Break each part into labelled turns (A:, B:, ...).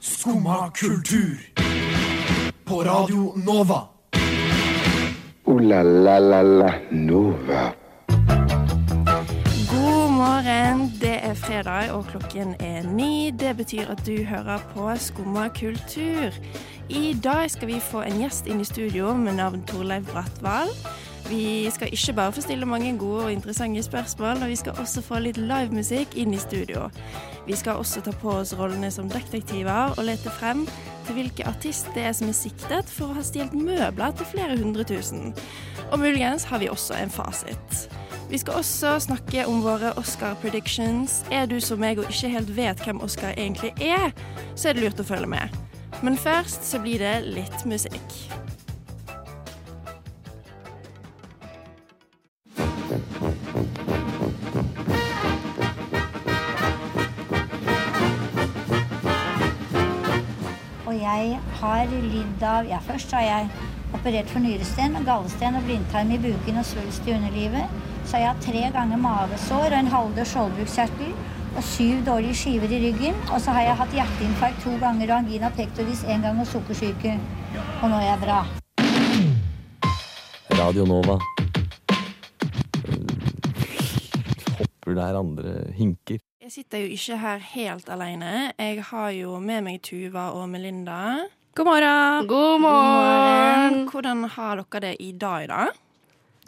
A: Skumma kultur. På Radio Nova.
B: Ooh la la la la Nova.
C: God morgen. Det er fredag, og klokken er ni. Det betyr at du hører på Skumma kultur. I dag skal vi få en gjest inn i studio med navn Torleiv Brattvall. Vi skal ikke bare få stille mange gode og interessante spørsmål, men vi skal også få litt livemusikk inn i studio. Vi skal også ta på oss rollene som detektiver og lete frem til hvilken artist det er som er siktet for å ha stjålet møbler til flere hundre tusen. Og muligens har vi også en fasit. Vi skal også snakke om våre Oscar-predictions. Er du som meg og ikke helt vet hvem Oscar egentlig er, så er det lurt å følge med. Men først så blir det litt musikk.
D: Og jeg har lidd av Ja, først har jeg operert for nyresten, gallesten og blindtarm i buken og svulst i underlivet. Så har jeg hatt tre ganger mavesår og en halvdød skjoldbruskkjertel og syv dårlige skiver i ryggen. Og så har jeg hatt hjerteinfarkt to ganger og angina pectoris én gang og sukkersyke. Og nå er jeg bra.
E: Radio Nova. Eh, Hopper der andre hinker.
C: Jeg sitter jo ikke her helt alene. Jeg har jo med meg Tuva og Melinda. Eh,
F: God morgen.
G: God morgen!
C: Hvordan har dere det i dag, da?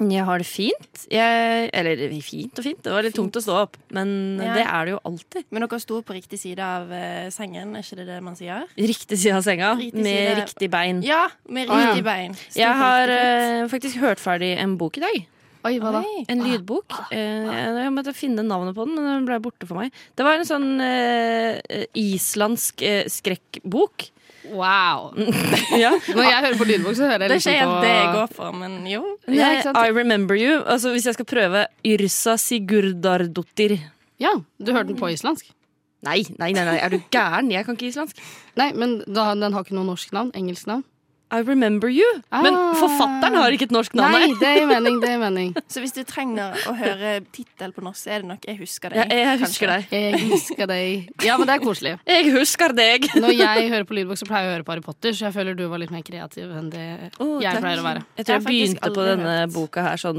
F: Jeg har det fint. Jeg, eller fint og fint. Det var litt tungt å stå opp, men
C: Ja.
F: det er det jo alltid.
C: Men dere sto på riktig side av eh, sengen, er ikke det det man sier?
F: Riktig side av senga,
C: Riktig
F: med
C: side.
F: riktig bein.
C: Ja, med
G: Å, ja.
C: riktig bein. Sto på
F: Jeg har
C: riktig fot.
F: eh, faktisk hørt ferdig en bok i dag.
G: Oi, hva da?
C: Oi.
F: En lydbok. Eh, jeg måtte finne navnet på den, men den ble borte for meg. Det var en sånn eh, islandsk eh, skrekkbok. Eh,
G: Wow.
F: ja.
G: Når jeg hører på lydbok, så hører
C: Det
G: jeg
C: er ikke
G: liksom
C: helt
G: på
C: det jeg går for, men jo.
G: Ja, ikke sant?
F: I Remember You. Altså, hvis jeg skal prøve Yrsa Sigurdardottir.
G: Ja, du hørte den på islandsk?
F: Nei, nei, nei, nei, er du gæren? Jeg kan ikke islandsk.
G: Nei, men da, den har ikke noe norsk navn. Engelsk navn.
F: I remember you. Men
G: Ah.
F: forfatteren har ikke et norsk navn.
G: Nei,
F: Nei.
G: det gir mening. Det gir mening.
C: Så hvis du trenger å høre tittel på norsk, så er det nok 'Jeg husker deg'.
F: Jeg, jeg husker deg.
G: Jeg elsker deg. Ja, men det er koselig.
F: Jeg husker deg.
G: Når jeg hører på lydbok, så pleier jeg å høre på Harry Potter, så jeg føler du var litt mer kreativ enn det
F: Å,
G: jeg
F: takk.
G: pleier å være.
F: Jeg
C: Jeg
F: tror jeg
C: har faktisk
F: begynte på
C: aldri
F: denne
C: hørt.
F: boka her sånn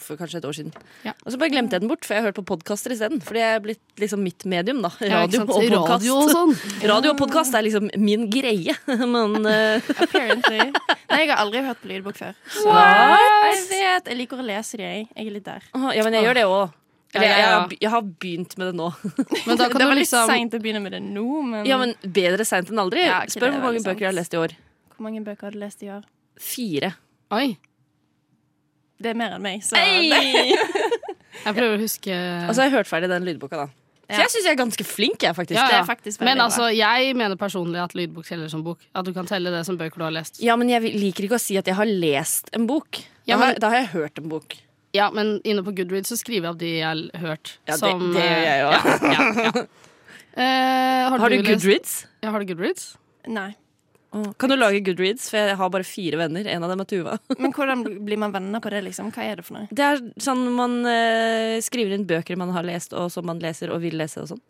F: for kanskje et år siden.
G: Ja.
F: Og så bare glemte jeg den bort, for jeg har hørt på podkaster isteden. Fordi jeg er blitt liksom mitt medium, da.
G: Ja,
F: Radio
G: ikke sant?
F: og podkast.
G: Radio og sånn.
F: Radio og podkast er liksom min greie. Men eh,
C: Apparently. Nei, jeg har aldri hørt på lydbok før. Så jeg vet, jeg liker å lese de, jeg. Jeg er litt der.
F: å, Ja, men jeg gjør det òg.
G: Ja,
F: Eller jeg,
G: ja, ja.
F: har be- jeg har begynt med det nå.
G: Men da kan
C: det
G: du
C: var litt
G: liksom
C: seint å begynne med det nå, men,
F: Ja, men Bedre seint enn aldri.
C: Ja, ok, det
F: Spør
C: er
F: hvor mange
C: veldig sant.
F: bøker jeg har lest i år.
C: hvor mange bøker har du lest i år?
F: Fire.
G: Oi.
C: Det er mer enn meg, så
G: Jeg prøver å
F: Og så
G: huske
F: har Altså, jeg hørt ferdig den lydboka, da. Så
C: Ja.
F: jeg syns jeg er ganske flink, jeg, faktisk.
G: Ja,
C: det
G: ja.
C: er faktisk veldig
G: Men altså, jeg mener personlig at lydbok teller som bok. At du kan telle det som bøker du har lest.
F: Ja, men jeg vil- liker ikke å si at jeg har lest en bok.
G: Ja,
F: da, har,
G: men-
F: da har jeg hørt en bok.
G: Ja, men inne på Goodread så skriver jeg opp de jeg har hørt.
F: Ja, det-
G: som,
F: det gjør jeg
G: eh,
F: også.
G: Ja, ja, ja. Eh, har,
F: Har du
G: du lest-
F: Goodreads?
G: Ja, har du Goodreads?
C: bra. Nei.
F: Kan du lage Goodreads? For jeg har bare fire venner. En av dem er Tuva.
C: Men hvordan blir man venner på det, liksom? Hva er det for noe?
F: Det er sånn man eh, skriver inn bøker man har lest, og som man leser og vil lese og sånn.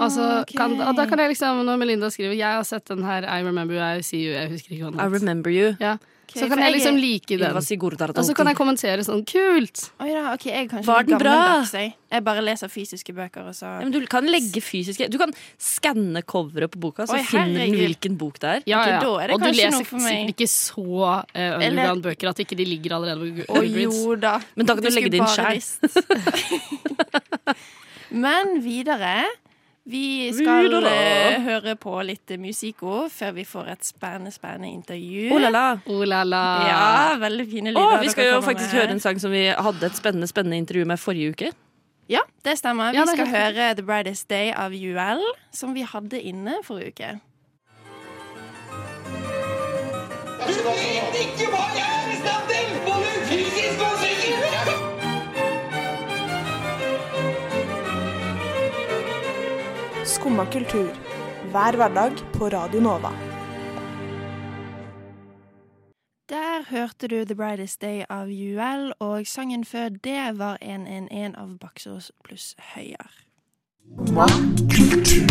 G: Altså,
C: ok.
G: kan, og da kan jeg liksom, når Melinda skriver Jeg har sett den her I Remember You, I See You, jeg husker ikke hva
F: I
G: den heter.
F: remember you.
G: Ja. Så
C: for
G: kan jeg
C: jeg
G: liksom
C: er-
G: like den.
F: Ylva Sigurdardottir.
G: Og så kan jeg kommentere sånn Kult!
C: Oi da, OK, jeg er kanskje
F: Var den
C: litt
F: bra?
C: gammeldags, jeg. Jeg bare leser fysiske bøker, og så
F: ja, men du kan legge fysiske Du kan skanne coveret på boka, så
C: Oi,
F: finner du
C: herregud.
F: hvilken bok det er.
G: Ja,
C: Ok,
G: ja.
C: da er det
G: og du
C: kanskje
G: leser
C: noe for meg.
G: sikkert ikke så eh, underground bøker at ikke de ligger allerede på
C: Å
G: Goodreads.
C: jo da.
F: Men da kan du legge det inn
C: skulle bare
F: selv.
C: visst. Men videre. Vi skal
F: Videre.
C: eh, høre på litt musiko før vi får et spennende, spennende intervju.
F: Oh, la, la.
G: Oh la la.
C: Ja, veldig fine lyder.
F: Å,
C: dere
F: vi skal jo
C: kommer
F: faktisk
C: med.
F: høre en sang som vi hadde et spennende spennende intervju med forrige uke.
C: Ja, det stemmer.
G: Ja,
C: vi
G: det er
C: skal
G: helt
C: høre The Brightest Day av UL, som vi hadde inne forrige uke.
H: Du vet ikke hva jeg er i stand til! Både fysisk og psykisk!
I: Skumma kultur. Hver hverdag på Radio Nova.
C: Der hørte du The Brightest Day av UL, og sangen før det var 111 av Baksås pluss Høyer.
A: Kultur.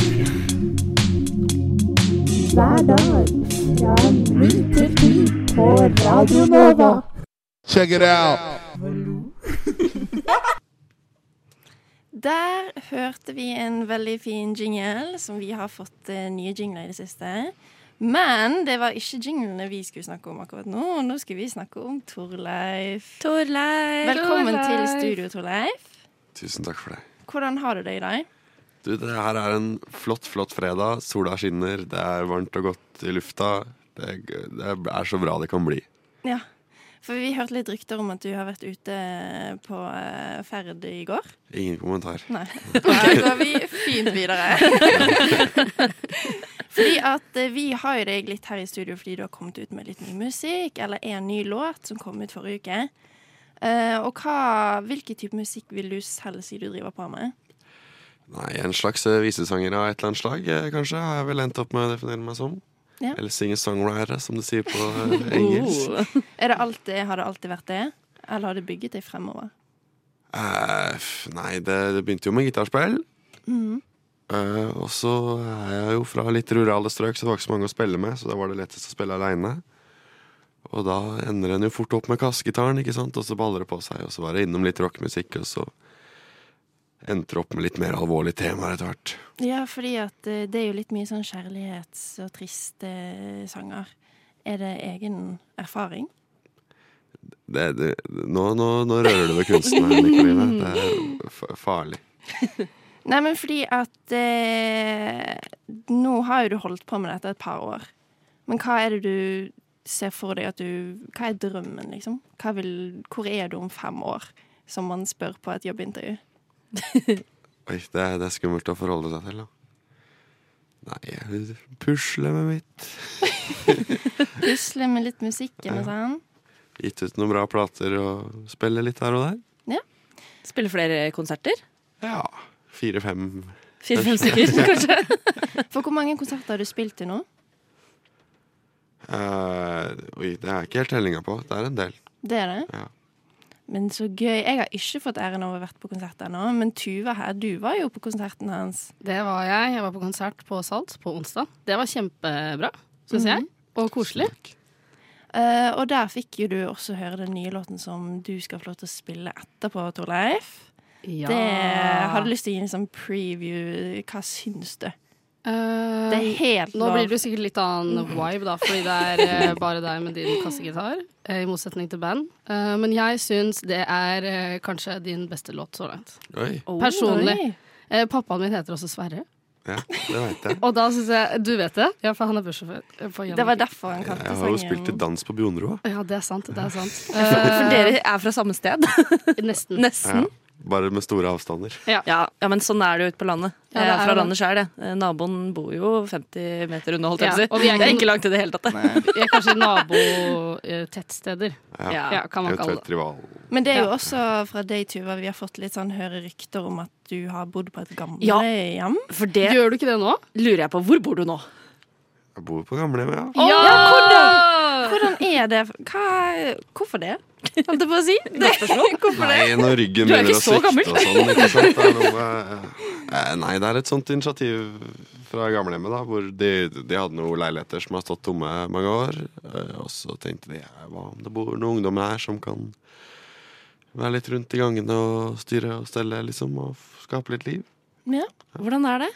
J: Check it out.
C: Der hørte vi en veldig fin jingle, som vi har fått eh, nye jingler i det siste. Men det var ikke jinglene vi skulle snakke om akkurat nå. Nå skal vi snakke om Torleif.
F: Torleif.
C: Velkommen til studio, Torleif.
K: Tusen takk for det.
C: Hvordan har du det i dag?
K: Du, det her er en flott, flott fredag. Sola skinner, det er varmt og godt i lufta. Det, det er så bra det kan bli.
C: Ja, for vi hørte litt rykter om at du har vært ute på eh, ferd i går.
K: Ingen kommentar.
C: Nei. Da går vi fint videre. Fordi at eh, Vi har jo deg litt her i studio fordi du har kommet ut med litt ny musikk, eller en ny låt som kom ut forrige uke. Eh, og hva, hvilken type musikk vil du selv si du driver på med?
K: Nei, en slags eh, visesanger av et eller annet slag, eh, kanskje, har jeg vel endt opp med å definere meg som.
C: Ja.
K: Eller singer-songwriter, som de sier på eh, engelsk.
F: Oh.
C: Er det alltid, har det alltid vært det, eller har det bygget deg fremover?
K: Eh, f- nei, det, det begynte jo med gitarspill.
I: Mm.
C: Mhm.
K: Eh, og så er jeg jo fra litt rurale strøk, så det var ikke så mange å spille med. Så da var det lettest å spille aleine. Og da ender en jo fort opp med kassegitaren, ikke sant? og så baller det på seg. Og så var det innom litt rockemusikk, og så endte det opp med litt mer alvorlige temaer etter hvert.
C: Ja, fordi at eh, det er jo litt mye sånn kjærlighets- og triste sanger. Er det egen erfaring?
K: Det, det, nå, nå, nå rører du ved kunsten her, Nikoline. Det er fa- farlig.
C: Nei, men fordi at eh, Nå har jo du holdt på med dette et par år. Men hva er det du ser for deg at du Hva er drømmen, liksom? Hva vil, hvor er du om fem år? Som man spør på et jobbintervju.
K: Oi, det, er- det er skummelt å forholde seg til, da. Nei, jeg pusler med mitt.
C: Pusle med litt musikken og sånn.
K: Gitt ut noen bra plater og spiller litt her og der.
F: Spiller flere konserter?
K: Ja. Fire-fem.
F: Fire-fem stykker, kanskje?
C: For hvor mange konserter har du spilt til nå?
K: Eh, oi, det er ikke helt tellinga på. Det er en del.
C: Det er det?
K: Ja.
C: Men så gøy. Jeg har ikke fått æren av å ha vært på konsert ennå, men Tuva her, du var jo på konserten hans.
G: Det var jeg. Jeg var på konsert på Salt på onsdag. Det var kjempebra, syns jeg. Og koselig.
C: Eh, og der fikk jo du også høre den nye låten som du skal få lov til å spille etterpå, Torleif.
G: Ja.
C: Det hadde lyst til å gi en sånn preview. Hva syns du?
G: Eh,
C: Det er helt
G: Nå
C: lov.
G: blir det jo sikkert litt annen vibe, da, fordi det er eh, bare deg med din kassegitar, eh, i motsetning til band. Eh, men jeg syns det er eh, kanskje din beste låt så langt.
K: Oi.
G: Personlig.
C: Oi.
G: Eh, pappaen min heter også Sverre,
K: Ja, det veit jeg.
G: og da syns jeg Du vet det? Ja, for han er bussjåfør. eh, på
C: Det
G: Jannicke.
C: var derfor han kalte
K: Jeg har jo spilt til
C: sangen
K: dans på Bjonroa.
G: Ja, det er sant. Det er sant.
F: For dere er fra samme sted?
G: Eh, nesten.
K: Ja.
F: Nesten.
K: Bare med store avstander.
F: Ja, ja, men sånn er det jo ute på landet.
G: Ja,
F: jeg
G: det
F: er
G: er
F: fra
G: det.
F: landet sjøl, jeg. Eh, Naboen bor jo 50 meter unna, holdt jeg
G: Ja,
F: på å
G: og
F: si.
G: vi er
F: Det er
G: ikke-
F: ikke langt i det hele tatt. det.
G: Vi er kanskje nabotettsteder.
F: Ja.
G: Ja, kan man kalle det.
K: Eventuelt rival.
C: Men det er jo også fra deg, Tuva, vi har fått litt sånn høre rykter om at du har bodd på et
F: Ja.
C: gamlehjem.
F: For det
G: Gjør du ikke det nå?
F: lurer jeg på. Hvor bor du nå?
K: Jeg bor på gamlehjemmet, ja.
G: Ja!
C: Hvordan er det? Hva, hvorfor det? Holdt jeg på å si. Det, hvorfor det?
K: Nei, når ryggen
F: Du er
K: begynner
F: ikke
K: å
F: så
K: svikte
F: gammel.
K: og sånn. Ikke sant? Det er noe, med- eh, nei, det er et sånt initiativ fra gamlehjemmet, da. Hvor de, de hadde noen leiligheter som har stått tomme mange år. eh, Og så tenkte de eh, hva om det bor noen ungdommer her som kan være litt rundt i gangene og styre og stelle, liksom. Og f- skape litt liv.
C: Ja.
F: Hvordan er det?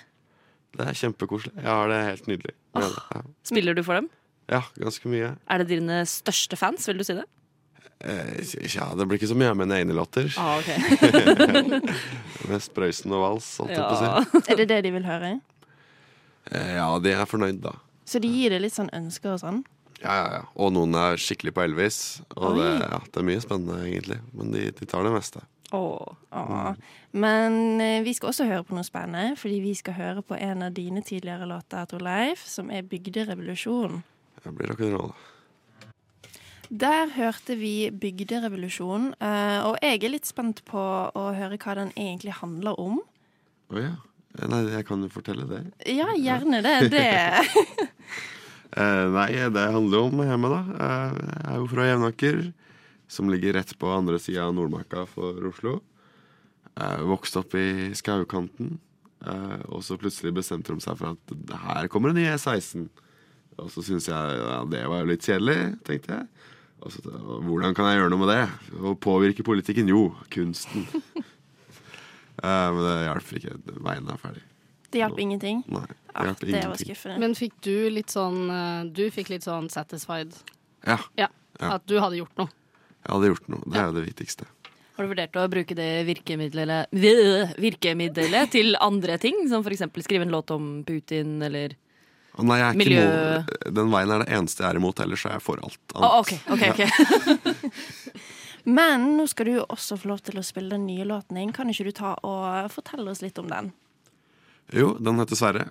K: Det er kjempekoselig. Jeg har det helt nydelig. Med det. Ja.
F: Spiller du for dem?
K: Ja, ganske mye.
F: Er det dine største fans, vil du si det?
K: Eh, Ja, det blir ikke så mye av mine egne låter.
F: Ah, ok.
K: Mest Prøysen og Vals, holdt jeg på å
F: Ja.
K: si.
C: Er det det de vil høre?
K: Eh, Ja, de er fornøyd, da.
C: Så de gir deg litt sånn ønsker og sånn?
K: Ja, ja, ja. Og noen er skikkelig på Elvis. Og det, ja, det er mye spennende, egentlig. Men de, de tar det meste.
F: Åh.
L: Mm.
C: Åh. Men eh, vi skal også høre på noe spennende, fordi vi skal høre på en av dine tidligere låter, Torleif, som er 'Bygderevolusjon'.
K: Jeg blir rock'n'roll.
C: Der hørte vi 'Bygderevolusjon', eh, og jeg er litt spent på å høre hva den egentlig handler om.
K: Å ja. Eh, Nei, jeg kan jo fortelle det.
C: Ja, gjerne det. det.
K: Eh, nei, det handler jo om hjemmet, da. Eh, jeg er jo fra Jevnaker, som ligger rett på andre sida av Nordmarka for Oslo. Eh, vokste opp i skaukanten, eh, og så plutselig bestemte de seg for at her kommer en ny E16.
L: Og så syntes jeg ja, det var jo litt kjedelig, tenkte jeg. Og så, hvordan kan jeg gjøre noe med det? Å påvirke politikken? Jo, kunsten. Eh, men det hjelper ikke. Veien er ferdig.
C: Det hjalp ingenting.
L: Nei, det
C: Ah,
L: hjelper
C: det var
L: ingenting.
C: skuffende.
G: Men fikk du litt sånn eh, Du fikk litt sånn satisfied?
L: Ja,
G: Ja.
L: Ja.
G: At du hadde gjort noe.
L: jeg hadde gjort noe. Det er jo det viktigste.
F: Har du vurdert å bruke det virkemiddelet, vir- virkemiddelet til andre ting? Som f.eks. skrive en låt om Putin, eller
L: Å, nei, jeg er ikke
F: Miljø-
L: imot- Den veien er det eneste jeg er imot, ellers er jeg for alt annet.
F: Å, OK, ok, ok.
C: Men nå skal du jo også få lov til å spille den nye låten din. Kan ikke du ta og fortelle oss litt om den?
L: Jo, den heter Sverre.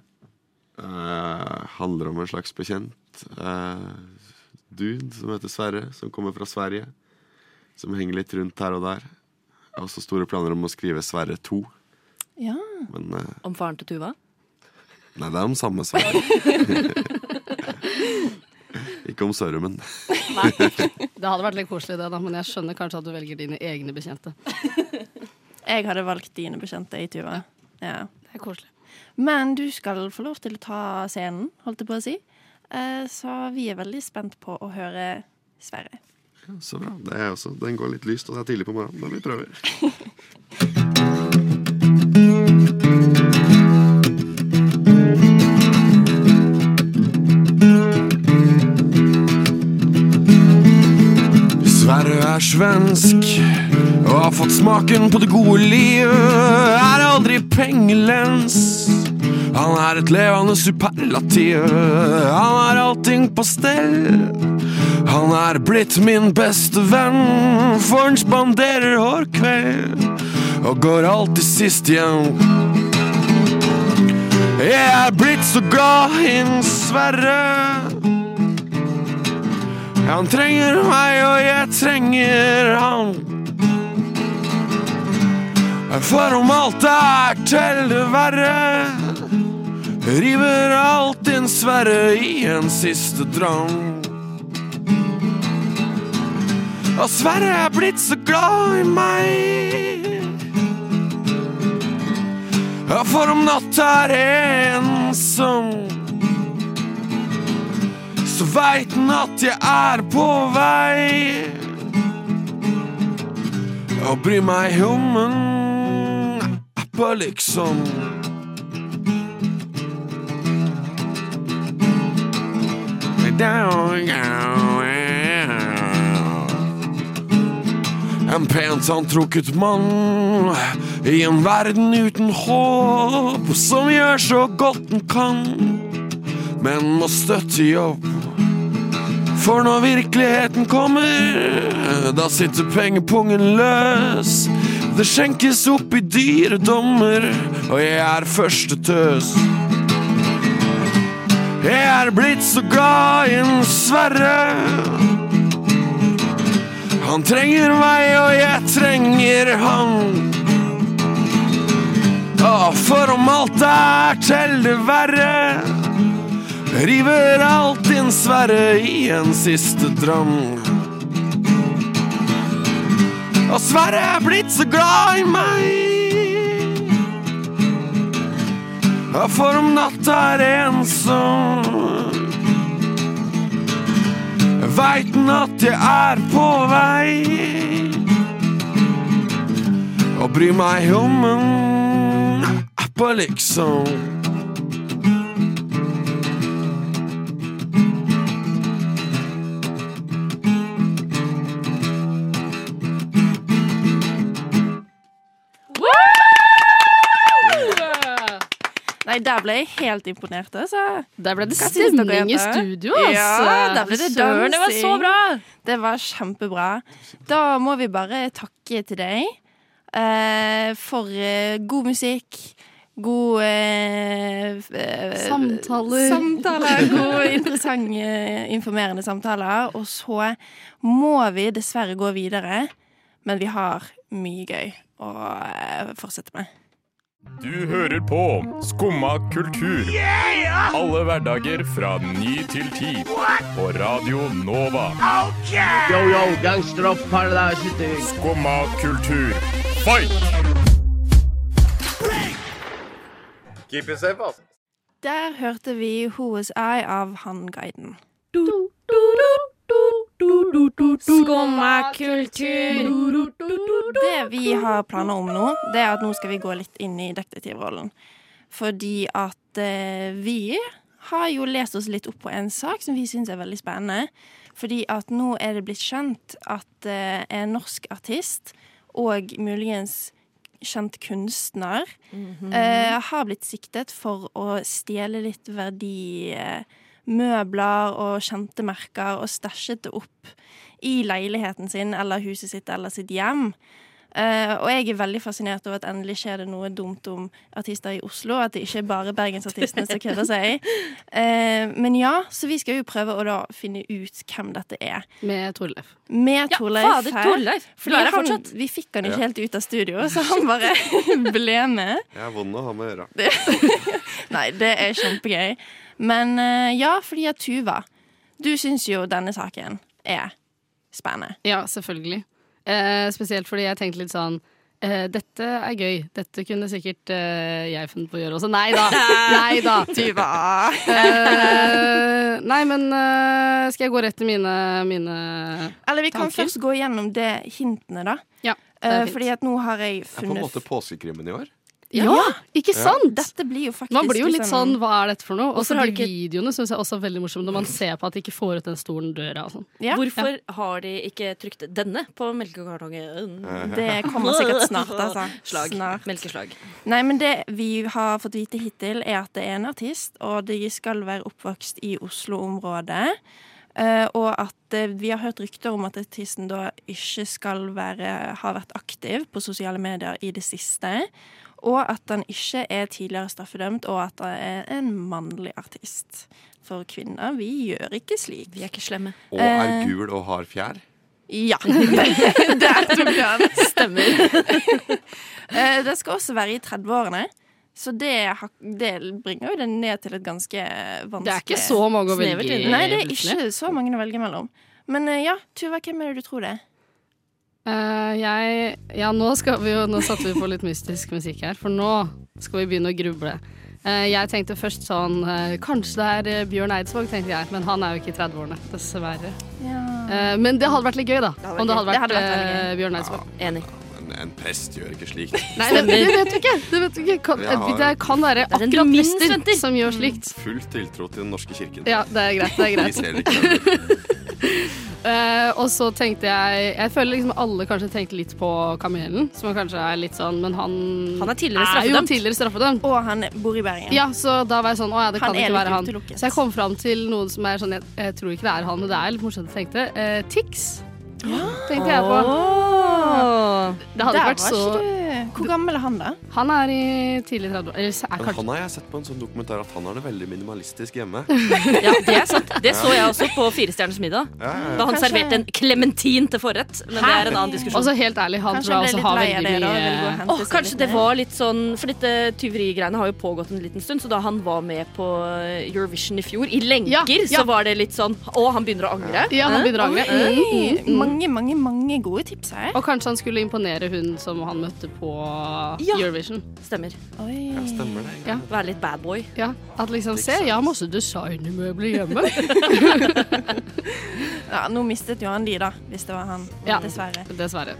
L: Eh, handler om en slags bekjent eh, dude som heter Sverre, som kommer fra Sverige. Som henger litt rundt her og der. Jeg har også store planer om å skrive Sverre 2.
C: Ja.
L: Men eh,
F: Om faren til Tuva?
L: nei, det er om samme Sverre. Ikke om Sørumen.
G: Det hadde vært litt koselig, det, da, men jeg skjønner kanskje at du velger dine egne bekjente.
C: Jeg hadde valgt dine bekjente i Tuva. Ja.
G: Det er koselig.
C: Men du skal få lov til å ta scenen, holdt jeg på å si. Eh, Så vi er veldig spent på å høre Sverre.
L: Ja, Så bra. Det er jeg også. Den går litt lyst, og det er tidlig på morgenen. Men vi prøver.
K: Sverre er svensk og har fått smaken på det gode livet. Er aldri pengelens. Han er et levende superlativ. Han har allting på stell. Han er blitt min beste venn, for han spanderer hver kveld og går alltid sist hjem. Jeg er blitt så glad i en Sverre. Han trenger meg, og jeg trenger han. For om alt er til det verre, river alt din sverre i en siste drang. Og Sverre er blitt så glad i meg. Ja, For om natta er jeg ensom så veit den at jeg er på vei. Og bryr meg om en appe, liksom. En pent antrukket mann i en verden uten håp, som gjør så godt den kan men må støtte i jobb. For når virkeligheten kommer, da sitter pengepungen løs. Det skjenkes opp i dyre dommer, og jeg er første tøs. Jeg er blitt så glad i en Sverre. Han trenger meg, og jeg trenger han. Å, for om alt er til det verre River alt din sverre i en siste drøm. Og Sverre er blitt så glad i meg. Ja, for om natta er ensom, veit den at jeg er på vei. Og bryr meg om en appa, liksom.
C: Nei, der ble jeg helt imponert, altså.
G: Der ble det
C: Hva synes dere,
G: stemning i
C: jenter?
G: studio, altså!
C: Ja, der ble det
F: Søren, det var så
C: dansing.
F: bra!
C: Det var kjempebra. Da må vi bare takke til deg eh, for eh, god musikk. God eh, f- eh,
G: Samtaler.
C: samtaler gode, interessante, informerende samtaler. Og så må vi dessverre gå videre, men vi har mye gøy å eh, fortsette med.
J: Du hører på Skumma kultur. Alle hverdager fra ny til ti. På Radio Nova.
M: Yo, yo, gangsteropp, paradise
J: Skumma kultur. Fight!
N: Keep it safe, ass.
C: Der hørte vi Who Was I av Han Guiden. Skumma kultur. Det vi har planer om nå, det er at nå skal vi gå litt inn i detektivrollen. Fordi at eh, vi har jo lest oss litt opp på en sak som vi syns er veldig spennende. Fordi at nå er det blitt kjent at eh, en norsk artist, og muligens kjent kunstner, eh, har blitt siktet for å stjele litt verdi eh, møbler og kjente merker og stæsjet det opp i leiligheten sin eller huset sitt eller sitt hjem. Eh, og jeg er veldig fascinert over at endelig skjer det noe dumt om artister i Oslo. At det ikke er bare bergensartistene som kødder seg. Eh, men ja, så vi skal jo prøve å da finne ut hvem dette er.
G: Med Torleif.
C: Med
G: Ja,
C: Torleif
G: fader,
C: her.
G: Torleif. Du
C: Fordi
G: er her
C: han,
G: fortsatt.
C: vi fikk han
K: Ja.
C: ikke helt ut av studio, så han bare ble med.
K: Jeg er vond å ha med å gjøre.
C: Nei, det er kjempegøy. Men eh, ja, fordi at Tuva, du syns jo denne saken er spennende.
G: Ja, selvfølgelig. Eh, spesielt fordi jeg tenkte litt sånn eh, dette er gøy. Dette kunne sikkert eh, jeg funnet på å gjøre også. Nei da! Nei da.
C: Tuva.
G: Eh, nei, men eh, skal jeg gå rett til mine, mine
C: Eller vi kan
G: tanker?
C: først gå gjennom det hintene, da.
G: Ja, det er
C: Eh,
G: fint.
C: fordi at nå har jeg
K: Det er på en
C: funnet
K: måte påskekrimmen i år.
G: Ja, ikke sant?
C: Dette blir jo faktisk liksom-
G: Man blir jo litt sånn, hva er dette for noe? Og
F: Hvorfor
G: så
F: har
G: de
F: de ikke-
G: videoene synes jeg også er veldig morsomme, når man ser på at de ikke får ut den stolen døra og sånn.
F: Hvorfor
G: Ja.
F: har de ikke trykt denne på melkekartongen?
C: Det kommer sikkert snart, altså.
F: Slag.
C: Snart.
F: Melkeslag.
C: Nei, men det vi har fått vite hittil, er at det er en artist, og de skal være oppvokst i Oslo-området. Eh, og at eh, vi har hørt rykter om at artisten da ikke skal være, ha vært aktiv på sosiale medier i det siste. Og at han ikke er tidligere straffedømt, og at han er en mannlig artist. For kvinner, vi gjør ikke slik. Vi er ikke slemme.
K: Og er gul og har fjær.
C: Ja. Der tok du den.
F: Stemmer.
C: Eh, det skal også være i 30-årene. Så det, har- det bringer jo det ned til et ganske vanskelig
G: Det er ikke så mange å velge i,
C: Nei, det er
G: plutselig.
C: ikke så mange å velge mellom. Men eh, ja, Tuva, hvem er det du tror det er?
G: Eh, jeg, ja, nå, skal vi jo, nå satte vi på litt mystisk musikk her, for nå skal vi begynne å gruble. Eh, jeg tenkte først sånn eh, Kanskje det er eh, Bjørn Eidsvåg, tenkte jeg, men han er jo ikke i 30-årene, dessverre. Eh, men det hadde vært litt gøy, da.
F: hadde vært
G: Om det hadde
F: gøy. Det
G: vært,
F: hadde vært veldig
G: eh, Bjørn Eidsvåg.
F: Enig.
K: Men en prest gjør ikke slikt.
G: Nei, det, det vet du ikke! Det, vet du ikke. Kan,
K: Jeg har-
G: det kan være
F: er en Mm.
G: akkurat
F: minst
G: prester som gjør slikt.
K: Full tiltro til Den norske kirken.
G: Ja, det er greit. Det er greit.
K: Vi ser ikke det.
G: Eh, og så tenkte jeg Jeg føler liksom alle kanskje tenkte litt på Kamelen, som kanskje er litt sånn Men han
F: Han er tidligere
G: jo
F: straffedømt.
G: tidligere straffedømt.
C: Og han bor i Bergen.
G: Ja, så da var jeg sånn Å ja, det
C: Han
G: kan
C: er
G: ikke
C: litt
G: være han.
C: utelukket.
G: Så jeg kom fram til noen som er sånn Jeg, jeg tror ikke det er han, men det er litt morsomt jeg tenkte. Eh, Tix tenkte jeg på. Det hadde
C: Der
G: ikke
C: var
G: vært så
C: ikke du- Hvor gammel er han, da?
G: Han er i tidlig 30 år. Eller så er
K: Men
G: kanskje
K: han har jeg sett på en sånn dokumentar at han har det veldig minimalistisk hjemme.
F: Ja, det er sant. Det så jeg
K: Ja.
F: også på Firestjerners middag.
K: Ja, ja, ja.
F: Da han
K: Kanskje-
F: serverte en klementin til forrett. Men det
G: Hæ?
F: er en annen diskusjon.
G: Altså, helt ærlig, han Kanskje tror jeg han ble også har litt lei av veldig det, da, og mye- ville gå og hente
F: Åh,
G: seg
F: Kanskje
G: litt
F: det
G: mer.
F: var litt sånn For dette tyverigreiene har jo pågått en liten stund, så da han var med på Eurovision i fjor, i lenker,
C: ja.
F: så var det litt sånn Å, han begynner å angre.
G: Ja, han
F: Hæ?
G: begynner å angre.
F: Oi.
G: Mm, mm, mm.
C: Mange, mange mange gode tips her.
G: Og kanskje han skulle imponere hun som han møtte på
F: Ja.
G: Eurovision.
F: Stemmer.
C: Ja,
K: stemmer det.
G: Ja.
F: Være litt bad boy.
G: Ja, at liksom Se, jeg har masse designmøbler hjemme.
C: Ja, nå mistet jo han de, da, hvis det var han.
G: Ja,
C: Dessverre.
G: Dessverre.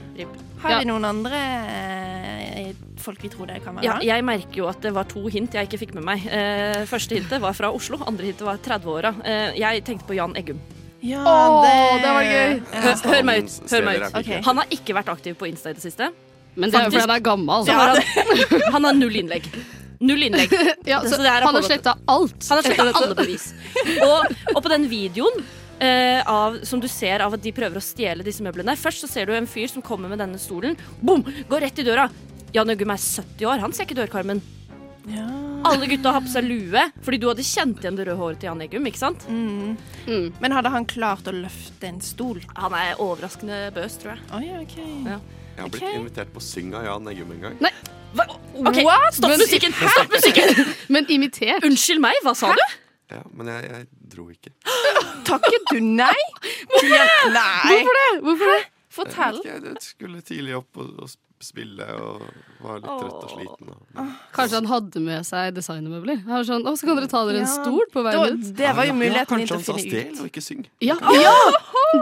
C: Har
F: Ja.
C: vi noen andre eh, folk vi tror det kan være?
F: Ja, jeg merker jo at det var to hint jeg ikke fikk med meg. Eh, første hintet var fra Oslo, andre hintet var 30-åra. Eh, jeg tenkte på Jan Eggum.
C: Ja,
G: Åh, det var gøy.
F: Hør, hør meg ut. Hør meg ut.
G: Steder er ikke. Ok.
F: Han har ikke vært aktiv på Insta i det siste.
G: Men det er jo
F: Faktisk-
G: fordi han er gammel.
F: Så
G: altså.
F: har han, han har null innlegg. Null innlegg.
G: Ja, så han har slettet alt.
F: Han har
G: etter
F: sletta
G: dette.
F: alle bevis. Og, og på den videoen eh, av, som du ser av at de prøver å stjele disse møblene Først så ser du en fyr som kommer med denne stolen. Bom! Går rett i døra. Jan Øggum er 70 år. Han ser ikke dørkarmen. Alle gutta har på seg lue, fordi du hadde kjent igjen det røde håret til Jan Eggum. ikke sant?
C: Mm. Men hadde han klart å løfte en stol?
F: Han er overraskende bøs, tror jeg.
C: Oi, ok.
K: Jeg har blitt
C: Ok.
K: invitert på syng av Jan Eggum en gang.
G: Nei.
F: Ok, Stopp musikken! Stopp musikken!
G: Men imitert.
F: Unnskyld meg, hva sa du?
K: Ja, men jeg, jeg dro ikke.
C: Takket du nei? Hvorfor det?
G: Hvorfor det?
C: Fortell.
K: Jeg, vet ikke, jeg skulle tidlig opp og, og spille og var litt trøtt og sliten. Og.
G: Kanskje han hadde med seg designermøbler. Han var sånn, å, så kan dere ta dere en
K: Ja.
G: stol på veien ut.
K: Ja, Kanskje han sa stjel og ikke syng.
G: Ja,
C: Åh!
G: ja!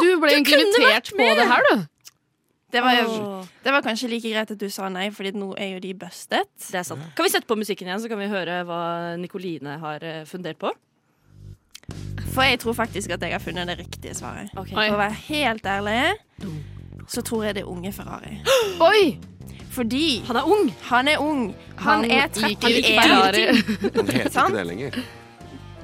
G: Du ble
C: Du
G: egentlig
C: kunne
G: invitert
C: vært
G: på
C: med!
G: det her, du.
C: Det var,
F: Åh.
C: det var kanskje like greit at du sa nei, Fordi nå er jo de bustet.
F: Det er sant. Kan vi sette på musikken igjen, så kan vi høre hva Nikoline har eh, fundert på?
C: For jeg tror faktisk at jeg har funnet det riktige svaret.
F: Oi.
C: For å være helt ærlig, så tror jeg det er unge Ferrari.
G: Oi!
C: Fordi
F: Han er ung.
C: Han er ung. Han,
F: Han
C: er
F: liker
C: 31.
F: ikke Ferrari.
K: Han heter ikke
C: Sant?
K: det lenger.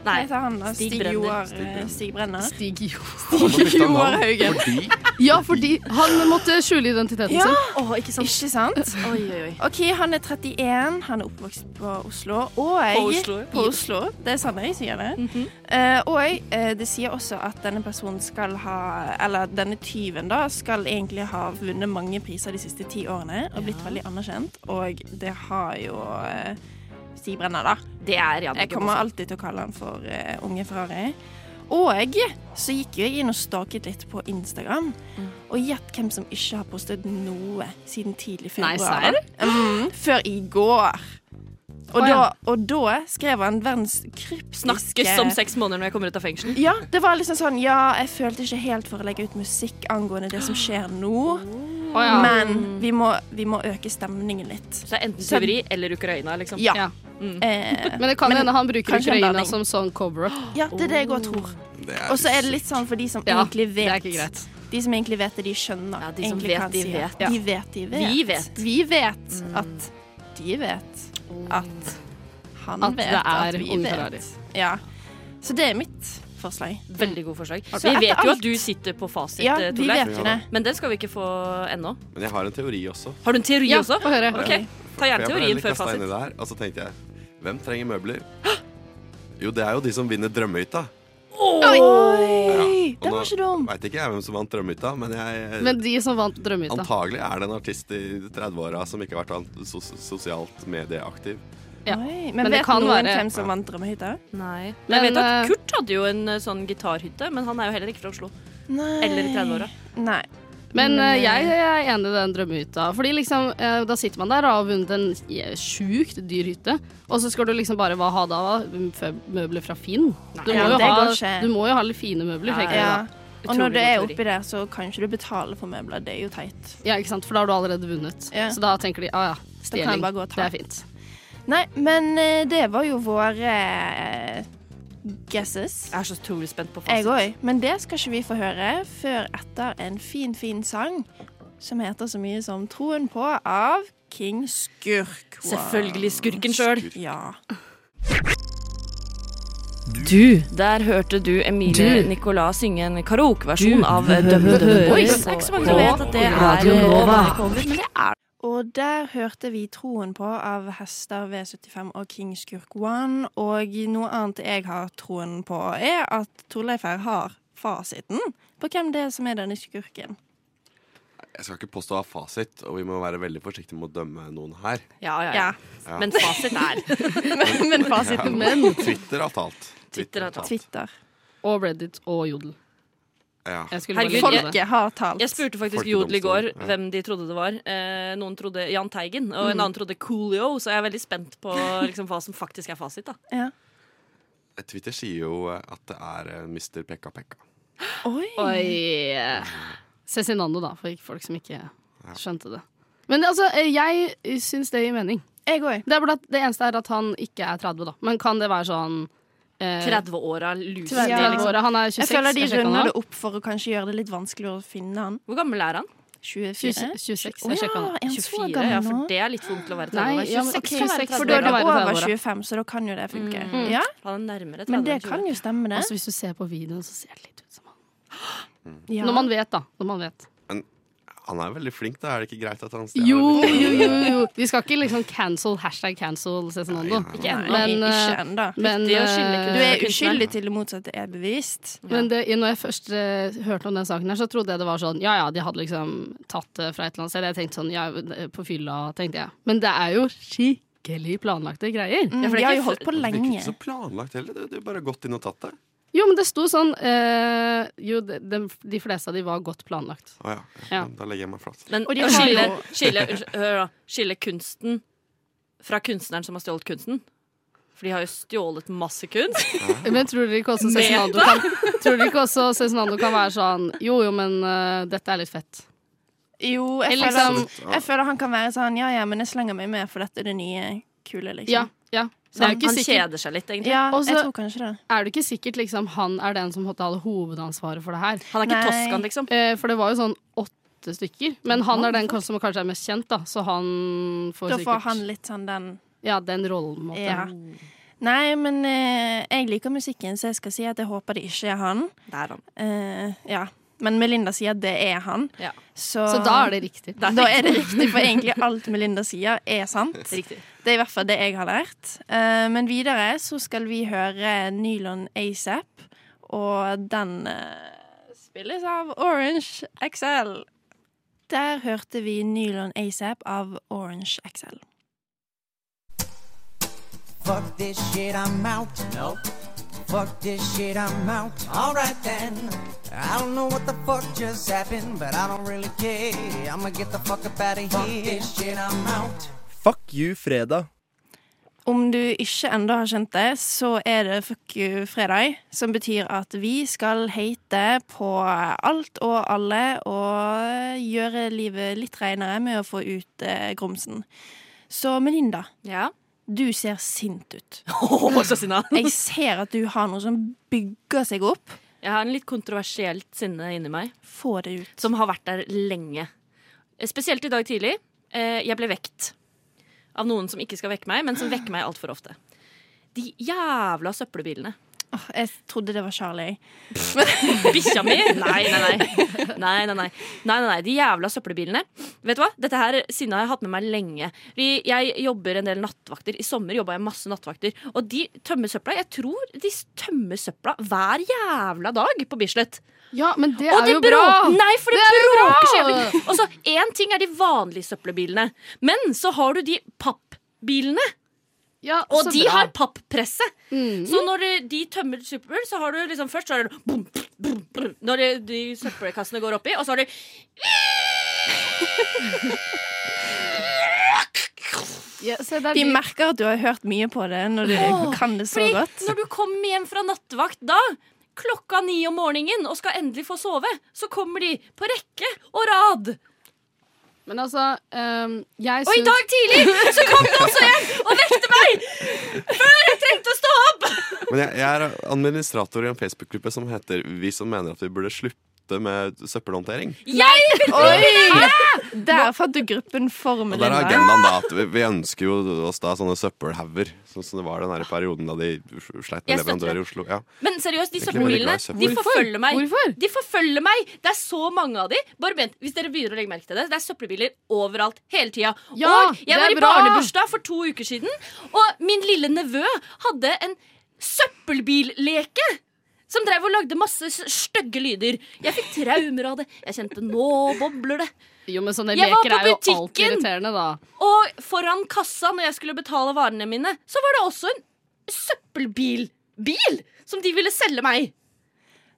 C: Nei, heter han da?
G: Stig
C: Stig
G: Brenner.
C: Joar
G: Stig Brenner.
C: eh, Stig Brenner.
G: Stig
K: Han har byttet navn
C: Joar Haugen.
K: fordi-
G: Ja, fordi han måtte skjule identiteten
C: Ja,
G: sin.
F: ikke sant?
C: Ikke sant?
F: Oi, oi, oi.
C: OK, han er 31, han er oppvokst på Oslo, og
F: På
C: jeg
F: Oslo, ja. Mhm.
C: På Oslo. Det er Sandøy som gjør det. Eh, og eh, det sier også at denne personen skal ha Eller denne tyven, da, skal egentlig ha vunnet mange priser de siste ti årene og blitt veldig anerkjent, og det har jo eh, Stig Brenner, da.
F: Det er Jan
C: Jeg kommer alltid til å kalle han for eh, Unge Ferrari. Og så gikk jo jeg inn og staket litt på Instagram.
F: Mm.
C: Og gjett hvem som ikke har postet noe siden tidlig
G: Nei,
C: februar.
G: serr?
C: da. mm, før i går. Og,
F: Å,
C: da,
F: ja.
C: og da skrev han verdens kryptiske
F: Snakkes om seks måneder når jeg kommer ut av fengsel.
C: Ja, det var liksom sånn Ja, jeg følte ikke helt for å legge ut musikk angående det som skjer nå.
F: ja.
C: Men vi må, vi må øke stemningen litt.
F: Så det er enten tyveri eller Ukraina, liksom.
C: Ja. Eh,
F: Mm.
G: Men det kan
C: men
G: hende han bruker
C: kanskje en
G: Ukraina
C: blanding.
G: som sånn cover-up.
C: Ja, det er det jeg òg tror. Og så er det litt sånn for de som
G: Ja,
C: egentlig
G: det
C: vet.
G: er ikke greit.
C: De som egentlig vet det, de skjønner.
F: de som
C: egentlig
F: vet,
C: hva han
F: de
C: sier.
F: vet. Ja.
C: De vet, de vet.
F: Vi vet. Mm.
C: Vi vet at de vet at han
F: At det
C: vet
F: er
C: at vi
F: Ung Ferrari.
C: vet. Ja. Så det er mitt forslag.
F: Veldig god forslag.
C: Så
F: vi
C: etter
F: vet jo
C: alt-
F: at du sitter på fasit,
C: Ja,
F: eh,
C: vi
F: Torleif.
C: vet jo det.
F: Men den skal vi ikke få ennå.
K: Men jeg har en teori også.
F: Har du en teori
K: Ja,
F: også?
K: få høre.
F: Ok, Ta
K: For
F: gjerne
K: jeg ble
F: teorien
K: litt
F: før
K: kastet
F: fasit.
K: inn i det her, Og så tenkte jeg, hvem trenger møbler? Jo, det er jo de som vinner drømmehytta.
C: Oi!
K: Ja, og
G: Den var
K: nå
G: ikke dum.
K: Vet ikke jeg hvem som vant drømmehytta, men jeg eh,
G: Men de som vant Drømmehytta.
K: Antagelig er det en artist i 30-åra som ikke har vært an- sos sosialt medieaktiv.
G: Ja.
C: Oi, men,
F: Men det
C: vet
F: kan
C: noen
F: være-
C: hvem som vant drømmehytta?
F: Nei.
C: Men,
F: Men, jeg vet
C: eh,
F: at Kurt hadde jo en eh, sånn gitarhytte, men han er jo heller ikke fra Oslo.
C: Nei.
F: Eller i 30-åra.
C: Nei.
G: Men eh, jeg er enig i den drømmehytta. Fordi liksom, eh, da sitter man der og har vunnet en j- sjukt dyr hytte, og så skal du liksom bare hva ha da? Fø- Møbler fra Finn? Du må,
C: Ja,
G: jo
C: det
G: ha,
C: går ikke.
G: du må jo ha litt fine møbler, tenker jeg
C: Ja.
G: da.
C: Og når du er oppi der, så kan ikke du betale for møbler. Det er jo teit.
G: Ja, ikke sant, for da har du allerede vunnet.
C: Ja.
G: Så da tenker de ah, ja,
C: Da kan jeg
G: stjeling,
C: bare gå og ta.
G: det er fint.
C: Nei, men eh, det var jo våre eh, guesses.
F: Jeg er så utrolig spent på
C: Jeg
F: fasit.
C: òg. Men det skal ikke vi få høre før etter en fin, fin sang som heter så mye som Troen på av King Skurk. Wow.
F: Selvfølgelig skurken sjøl.
C: Ja.
F: Du. Der hørte du Emilie
C: Du.
F: Nicolas synge en karaokeversjon av eh, Dum Dum Dum Boys. Det er ikke så mange som vet at det er eh, cover, men det er
C: Og der hørte vi Troen på av Hester V75 og King Skurk One. Og noe annet jeg har troen på, er at Torleif her har fasiten på hvem det er som er denne skurken.
K: Jeg skal ikke påstå å ha fasit, og vi må være veldig forsiktige med å dømme noen her.
F: Ja, ja,
C: ja.
K: Ja.
F: Men fasit er
C: Men, men fasiten men.
K: Twitter har talt.
F: Twitter.
C: Twitter.
G: Og Reddit og Jodel.
K: Ja.
G: Jeg skulle bare
F: Herregud,
G: nevne
F: jeg-
G: det.
C: har talt.
F: Jeg spurte faktisk
G: Folkedomstolen,
F: Jodel i går
G: ja.
F: hvem de trodde det var. Eh, noen trodde Jahn Teigen, og en
G: Mm.
F: annen trodde Coolio, så jeg er veldig spent på liksom, hva som faktisk er fasit. da
K: Twitter sier jo eh, at det er eh, Mr. Pekka Pekka.
C: Oi.
G: Oi. Cezinando, da, for folk som ikke skjønte det. Men altså, jeg syns det gir mening.
C: Jeg òg.
G: Det, er bare at det eneste er at han ikke er 30, da. Men kan det være sånn eh,
F: 30-åra luser.
G: Ja, åra. Han er 26.
C: Jeg føler de
G: sjekket han
C: runder
G: da.
C: det opp for å kanskje gjøre det litt vanskeligere å finne han.
F: Hvor gammel er han?
C: 24?
G: 26, jeg
C: Å ja,
G: sjekket han.
C: er han så
F: 24,
C: gammel
F: ja, for
C: nå?
F: det er litt for ungt til å være
C: Nei,
F: 30.
C: ja, men
F: 26 kan være 30.
C: for da er du over 25, så da kan jo det funke.
F: Mm.
C: Ja?
F: Han er nærmere 30
C: Men det
F: enn 20.
C: kan jo stemme, det.
G: Altså, hvis du ser på videoen, så ser det litt ut som han.
C: Ja.
G: Når man vet, da. Når man vet.
K: Men han er veldig flink, da. Er det ikke greit at han
G: Jo, jo, jo, jo. Vi skal ikke liksom cancel, hashtag cancel Cezinando.
C: Ikke ennå.
G: Men, eh,
C: Ikke ennå.
G: men,
C: Viktig å skille
G: eh,
C: Du er uskyldig til det motsatte er bevist.
G: Men det, når jeg først eh, hørte om den saken her, så trodde jeg det var sånn Ja ja, de hadde liksom tatt det fra et eller annet sted. Jeg tenkte sånn ja, på fylla, tenkte jeg. Men det er jo skikkelig planlagte greier.
C: Mm, Ja, for det er de har ikke- jo holdt på
K: Det virker
C: lenge.
K: ikke så planlagt heller. Du, du har bare gått inn og tatt det.
G: Jo, men det sto sånn eh, Jo, de, de, de fleste av de var godt planlagt.
K: Å ja.
G: Ja.
K: Da legger jeg meg flat.
F: Men
G: Og de
F: å
G: har
F: skille,
G: jo-
F: skille, unnskyld, hør da, skille kunsten fra kunstneren som har stjålet kunsten. For de har jo stjålet masse kunst.
G: Men tror dere ikke også Cezinando
F: Meta?
G: kan, tror dere ikke også Cezinando kan være sånn Jo, jo, men eh, dette er litt fett.
C: Jo, jeg,
G: Eller
C: føler,
G: liksom-
C: jeg føler han kan være sånn Ja, ja, men jeg slenger meg med, for dette er det nye kule, liksom.
G: Ja, ja.
C: Så han- han kjeder
F: seg litt,
C: egentlig. Ja, jeg tror
G: kanskje det. Er det ikke sikkert liksom, han er den som måtte ha det hovedansvaret for det her?
F: Han er ikke Nei. Toscan, liksom?
G: Eh, for det var jo sånn åtte stykker. Men han er den som kanskje er mest kjent, da, så han får
C: Da
G: sikkert
C: får han litt sånn den
G: Ja, den rollen, på en måte.
C: Ja. Nei, men eh, jeg liker musikken, så jeg skal si at jeg håper det ikke er han.
F: Det er han.
C: Eh, ja. Men Melinda sier at det er han. Så,
G: Så da er det riktig. Det er
C: Da er det
G: riktig.
C: riktig, for egentlig alt Melinda sier, er sant. Det er i hvert fall det jeg har lært. Eh, men videre så skal vi høre Nylon ASAP, og den eh, spilles av Orange XL. Der hørte vi Nylon ASAP av Orange XL.
O: Fuck this shit, I'm out. No. Fuck this shit, I'm out. Alright then. I don't know what the fuck just happened, but I don't really care. I'ma get the fuck up out of here. Fuck this shit, I'm out.
P: Fuck you, fredag.
C: Om du ikke enda har skjønt det, så er det Fuck you fredag, som betyr at vi skal hate på alt og alle og gjøre livet litt renere med å få ut eh, grumsen. Så Melinda, du ser sint ut. Jeg ser at du har noe som bygger seg opp.
F: Jeg har en litt kontroversielt sinne inni meg.
C: Få det ut.
F: Som har vært der lenge. Eh, Spesielt i dag tidlig. Eh, Jeg ble vekt av noen som ikke skal vekke meg, men som vekker meg altfor ofte. De jævla søppelbilene.
C: Åh, Jeg trodde det var Charlie.
F: Bikkja mi? Nei, nei, nei. Nei, nei, nei. nei, nei, nei. De jævla søppelbilene. Vet du hva? Dette her sinnet har jeg hatt med meg lenge. Fordi jeg jobber en del nattvakter. I sommer jobba jeg masse nattvakter. Og de tømmer søpla. Jeg tror de tømmer søpla hver jævla dag på Bislett.
G: Ja, men det
F: og
G: er
F: det
G: jo bra!
F: Nei, for det,
G: Det er jo
F: bråker så
G: bra!
F: jævlig. Og så én ting er de vanlige søppelbilene, men så har du de pappbilene. og
G: så
F: de
G: bra.
F: har pappresse. Så når eh, de tømmer søppel, så har du liksom først så er det bom, bom, bom, Når de, de søppelkassene går oppi, og så har de
C: Vi merker at du har hørt mye på det når du
F: Åh,
C: kan det så
F: fordi
C: godt.
F: Når du kommer hjem fra nattevakt da, klokka ni om morgenen, og skal endelig få sove, så kommer de på rekke og rad.
G: Men altså, ehm, jeg
F: Og i
G: syns-
F: dag tidlig så kom det også en og vekte meg! Før jeg trengte å stå opp!
K: Men jeg, jeg er administrator i en Facebook-gruppe som heter Vi som mener at vi burde slutte med søppelhåndtering.
F: Jeg vil
C: Oi! Der fant du gruppen for
K: Og der
C: Melinda.
K: er agendaen da at vi, vi ønsker jo oss da sånne søppelhauger, sånn som det var den her perioden da de sleit med
F: Jeg støtter
K: leverandører
F: det.
K: i Oslo. Ja.
F: Men seriøst, de
K: Jeg er ikke veldig
F: søppelbilene
K: glad i søppel.
F: de
K: Hvorfor?
F: forfølger meg. De forfølger meg! Det er så mange av de. Bare vent, hvis dere begynner å legge merke til det, det er søppelbiler overalt hele tida.
G: Ja,
F: og
G: det
F: jeg var
G: er
F: i
G: bra!
F: barnebursdag for to uker siden, og min lille nevø hadde en søppelbilleke. Som drev og lagde masse s- stygge lyder. Jeg fikk traumer av det. Jeg kjente nå bobler det.
G: Jo, men sånne
F: Jeg var
G: leker
F: på
G: er jo alltid
F: butikken.
G: irriterende, da.
F: Og foran kassa når jeg skulle betale varene mine, så var det også en søppelbilbil som de ville selge meg.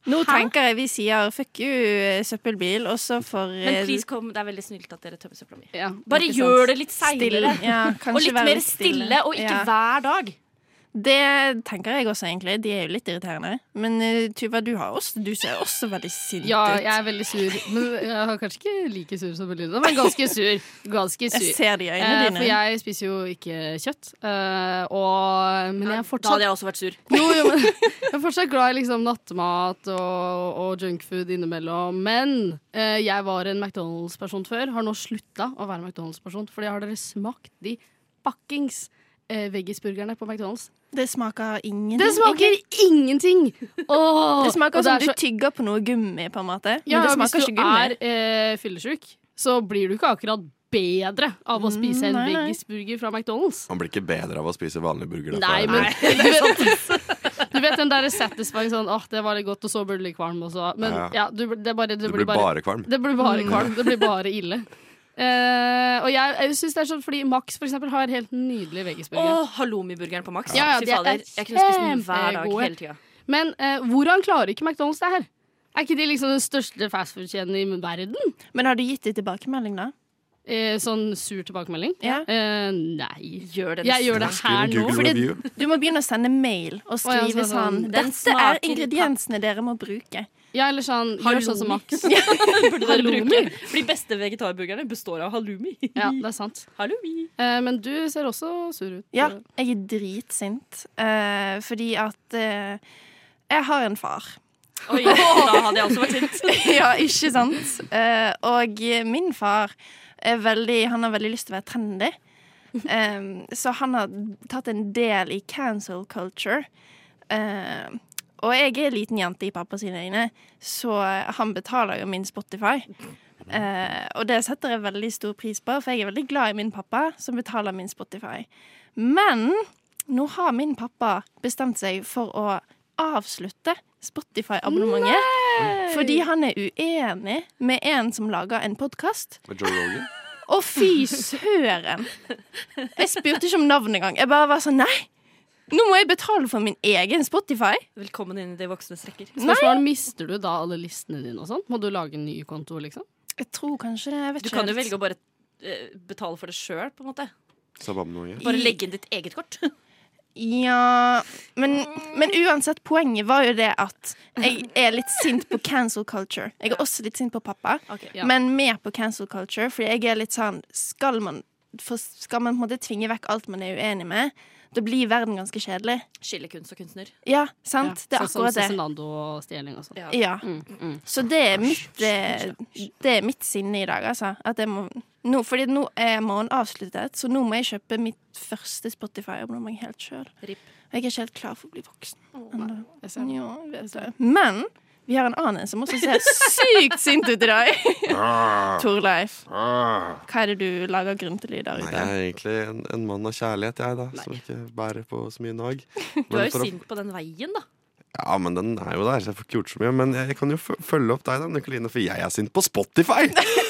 C: Nå tenker jeg vi sier fuck you, eh, søppelbil, og så får eh,
F: Men please kom, det er veldig snilt at dere tømmer søpla mi. Eh, Bare
C: ikke sant.
F: gjør det litt seinere.
C: Stille, ja, kanskje
F: og litt
C: være
F: mer
C: litt stille.
F: stille, og ikke
C: Ja.
F: hver dag.
C: Det tenker jeg også, egentlig. De er jo litt irriterende. Men eh, Tuva, du, har også, du ser også veldig sint
G: Ja,
C: ut.
G: jeg er veldig sur. Men jeg er kanskje ikke like sur som Belinda, men ganske sur. Ganske sur.
C: Jeg ser det i øynene
G: Eh,
C: dine.
G: For jeg spiser jo ikke kjøtt. eh, og, men jeg er
F: Da
G: fortsatt
F: hadde jeg også vært sur.
G: Jo, jo, men jeg er fortsatt glad i liksom nattmat og, og junkfood innimellom. Men eh, jeg var en McDonald's-person før, har nå slutta å være McDonald's-person. Fordi har dere smakt de fuckings eh, veggisburgerne på McDonald's?
C: Det smaker ingenting.
G: Det smaker ingenting! Åh,
C: det smaker
G: og
C: som
G: er
C: du
G: så-
C: tygger på noe gummi, på en måte.
G: Ja,
C: men det smaker
G: hvis
C: ikke
G: du
C: gummi.
G: er eh, fyllesyk, så blir du ikke akkurat bedre av å spise
C: Mm,
G: en
C: nei, nei.
G: veggisburger fra McDonald's.
K: Man blir ikke bedre av å spise vanlig burger. da,
G: Nei,
K: for-
G: men du vet, du vet den derre satisfying sånn åh, det var litt godt, og så burde du bli kvalm også. Men
K: Ja.
G: ja, du, det, er bare, det
K: Du
G: blir
K: blir
G: bare,
K: bare kvalm.
G: Det blir bare
K: Mm.
G: kvalm. Det blir bare ille. Eh, og jeg, jeg synes det er sånn fordi Max for eksempel har helt nydelig veggisburger.
F: Og halloumiburgeren på Max.
G: Ja, ja,
F: Fy
G: de er
F: fader, jeg kunne spist den hver dag
G: kjempegode.
F: hele tida.
G: Men eh, hvordan klarer ikke McDonald's det her? Er ikke de liksom den største fastfood-kjeden i verden?
C: Men har du gitt dem tilbakemelding, da?
G: Eh, sånn sur tilbakemelding? Eh, nei.
F: Gjør
G: jeg gjør det her nå. Fordi,
C: du må begynne å sende mail og
G: Å, ja,
C: skrive
G: sånn-
C: sånn
G: sånn, den
C: Dette
G: smaker
C: er ingrediensene dere må bruke.
G: ja, eller sånn, gjør sånn som Max.
F: Halloumi. For de beste vegetarburgerne består av halloumi.
G: Ja,
C: Mm.
G: det er sant. Eh,
F: Halloumi.
G: men du ser også sur ut.
C: Ja, jeg er dritsint. eh, fordi at eh, jeg har en far.
F: Oi, da hadde jeg også vært sint.
C: ja, ikke sant? Eh, og min far er veldig, han har veldig lyst til å være trendy. Eh, så han har tatt en del i cancel culture. Eh, og jeg er liten jente i pappa sine øyne, så han betaler jo min Spotify. Eh, og det setter jeg veldig stor pris på, for jeg er veldig glad i min pappa, som betaler min Spotify. Men nå har min pappa bestemt seg for å avslutte Spotify-abonnementet. Fordi han er uenig med en som lager en podkast.
K: Med Joe Rogan.
C: Å, fy søren! Jeg spurte ikke om navn engang. Jeg bare var sånn Nei! Nå må jeg betale for min egen Spotify.
F: Velkommen inn i de voksnes rekker.
G: Spørsmålet, mister du da alle listene dine og sånn? Må du lage en ny konto, liksom?
C: Jeg tror kanskje det. Jeg vet
F: Du
C: ikke
F: kan jo
C: helt.
F: velge å bare eh, betale for det sjøl, på en måte.
K: Sababnoye.
F: Bare legge inn ditt eget kort.
C: Ja men, men uansett, poenget var jo det at jeg er litt sint på cancel culture. Jeg er også litt sint på pappa,
F: ja.
C: men mer på cancel culture. Fordi jeg er litt sånn Skal man, for, skal man på en måte tvinge vekk alt man er uenig med, da blir verden ganske kjedelig.
F: Skille kunst og kunstner.
C: Ja, sant? det er
G: sånn som
C: akkurat det.
G: Cezinando og stjeling og sånn.
C: Ja.
G: Mm, mm.
C: Så det er mitt, eh, det er mitt sinne i dag, altså. At jeg må, nå, fordi nå er morgenen avsluttet, så nå må jeg kjøpe mitt første Spotify-abonnement helt sjøl. Og
F: jeg
C: er ikke helt klar for å bli voksen. ennå. Ja, jeg vet
G: ser
C: det. Men vi har en annen en som også ser sykt sint ut i dag. Torleif,
K: Ah.
C: hva er det du lager gruntelyder
K: Nei,
C: ut
K: jeg
C: av?
K: er egentlig en, en mann av kjærlighet, jeg, da. Som ikke bærer på så mye nag.
F: Du
K: Men
F: er jo
K: for å-
F: sint på den veien, da.
K: Ja, men den er jo der, så jeg får ikke gjort så mye. Men jeg kan jo f følge opp deg, da, Nikoline, for jeg er sint på Spotify!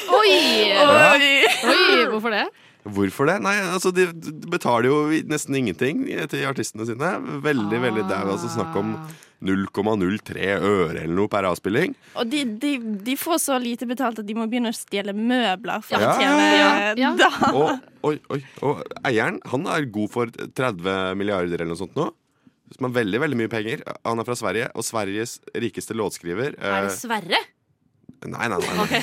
G: Oi!
K: Ja.
G: Oi, Hvorfor det?
K: Hvorfor det? Nei, altså De de betaler jo nesten ingenting til artistene sine. Veldig, veldig Det er altså snakk om 0,03 øre eller noe per avspilling.
C: Og de, de, de får så lite betalt at de må begynne å stjele møbler for
K: Ja.
C: å tjene
G: ja.
C: da.
K: Og, oi, oi, og eieren han er god for 30 milliarder eller noe sånt nå. Som er veldig veldig mye penger. Han er fra Sverige, og Sveriges rikeste låtskriver
F: Er det
K: eh,
F: Sverre?
K: Nei, nei, nei. nei.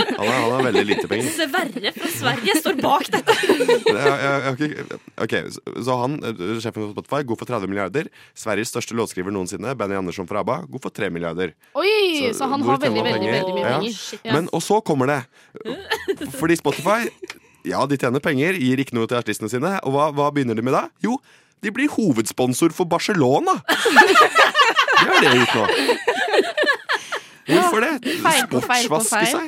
K: Han, har, han har veldig lite penger.
F: Sverre fra Sverige står bak dette!
K: Det er- jeg- jeg har ikke- ok, så, så han, eh, sjefen på Spotify, god for 30 milliarder. Sveriges største låtskriver noensinne, Benny Andersson fra ABBA, god for 3 milliarder.
G: Oi, så, han
K: hvor
G: har
K: kan
G: veldig,
K: man
G: veldig,
K: penger?
G: veldig mye
K: Ja.
G: penger. Ja.
K: Men, og så kommer det. Fordi Spotify ja, de tjener penger, gir ikke noe til artistene sine. Og hva, hva begynner de med da? Jo, de blir hovedsponsor for Barcelona! Det har de gjort nå. Hvorfor det?
G: Feil på feil på
K: Sportsvaske
G: feil.
K: seg?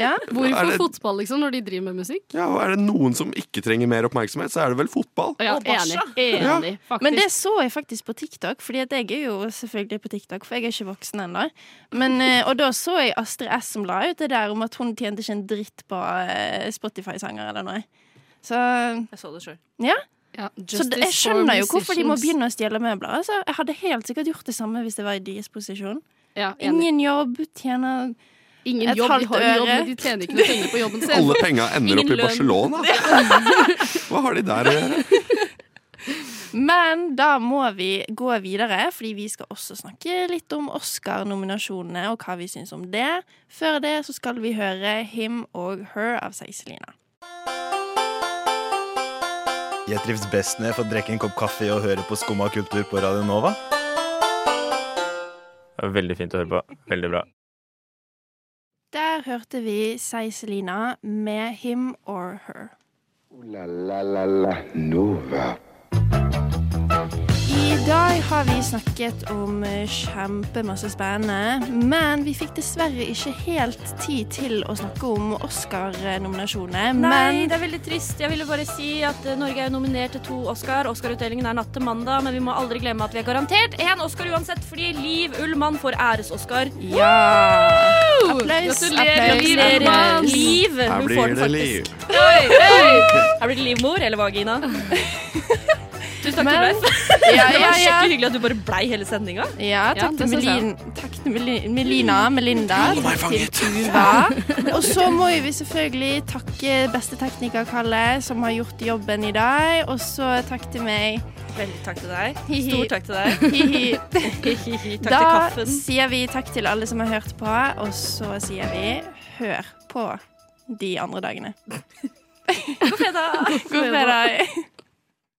K: Ja. Er
G: Hvorfor
K: det-
G: fotball, liksom, når de driver med musikk?
K: ja, og Er det noen som ikke trenger mer oppmerksomhet, så er det vel fotball.
G: Ja, enig. enig faktisk.
C: Men det så jeg faktisk på TikTok, Fordi at jeg er jo selvfølgelig på TikTok, for jeg er ikke voksen ennå. Men, eh, Og da så jeg Astrid S som la ut det der om at hun tjente ikke en dritt på eh, Spotify-sanger eller noe. Så
F: Jeg så det sjøl.
C: ja.
G: Ja,
C: Så
G: justice
C: det, jeg
G: for
C: skjønner jo hvorfor de må
G: musicians.
C: begynne å stjele møbler. Altså, jeg hadde helt sikkert gjort det samme hvis jeg var i deres posisjon.
G: Ja, enig.
C: Ingen jobb, tjener
G: Ingen
C: et
G: jobb, de
C: halvt
G: har en jobb,
C: øre.
G: men de tjener ikke noe penger på jobben sin.
K: Alle penga ender opp i
G: Ingen lønn.
K: Barcelona. Hva har de der å gjøre?
C: Men da må vi gå videre, fordi vi skal også snakke litt om Oscar-nominasjonene og hva vi syns om det. Før det så skal vi høre Him og Her av Seiselina.
P: Jeg trives best når jeg får drikke en kopp kaffe og høre på Skumma kultur på Radio Nova.
Q: Veldig fint å høre på. Veldig bra.
C: Der hørte vi Seiselina med Him or Her.
B: La la la la Nova.
C: I dag har vi snakket om eh, kjempemasse spennende, men vi fikk dessverre ikke helt tid til å snakke om Oscar-nominasjonene.
F: Nei,
C: Men
F: det er veldig trist. Jeg ville bare si at eh, Norge er jo nominert til to Oscar. Oscar-utdelingen er natt til mandag, men vi må aldri glemme at vi er garantert én Oscar uansett, fordi Liv Ullmann får æres-Oscar.
C: Ja! Applaus,
F: Gratulerer,
C: applaus, applaus.
F: Liv Ullmann. Liv!
K: Her
F: Hun
K: blir
F: får den
K: det
F: faktisk.
K: liv.
F: Oi, oi. Her blir det livmor eller vagina. Tusen takk,
C: Men-
F: Torleif.
C: Ja, ja,
F: Det var
C: ja.
F: skikkelig hyggelig at du bare blei hele sendinga.
C: Ja, takk til, Melin, takk til Meli- Melina, Melinda,
F: Hold meg fanget.
C: til Tuva. Og så må vi selvfølgelig takke beste tekniker Kalle, som har gjort jobben i dag. Og så takk til meg.
F: Veldig takk til deg.
C: Hihi.
F: Stor takk til deg.
C: Hihi.
F: Hihi. Takk
C: da
F: til kaffen.
C: sier vi takk til alle som har hørt på, og så sier vi hør på de andre dagene. God fredag. God fredag.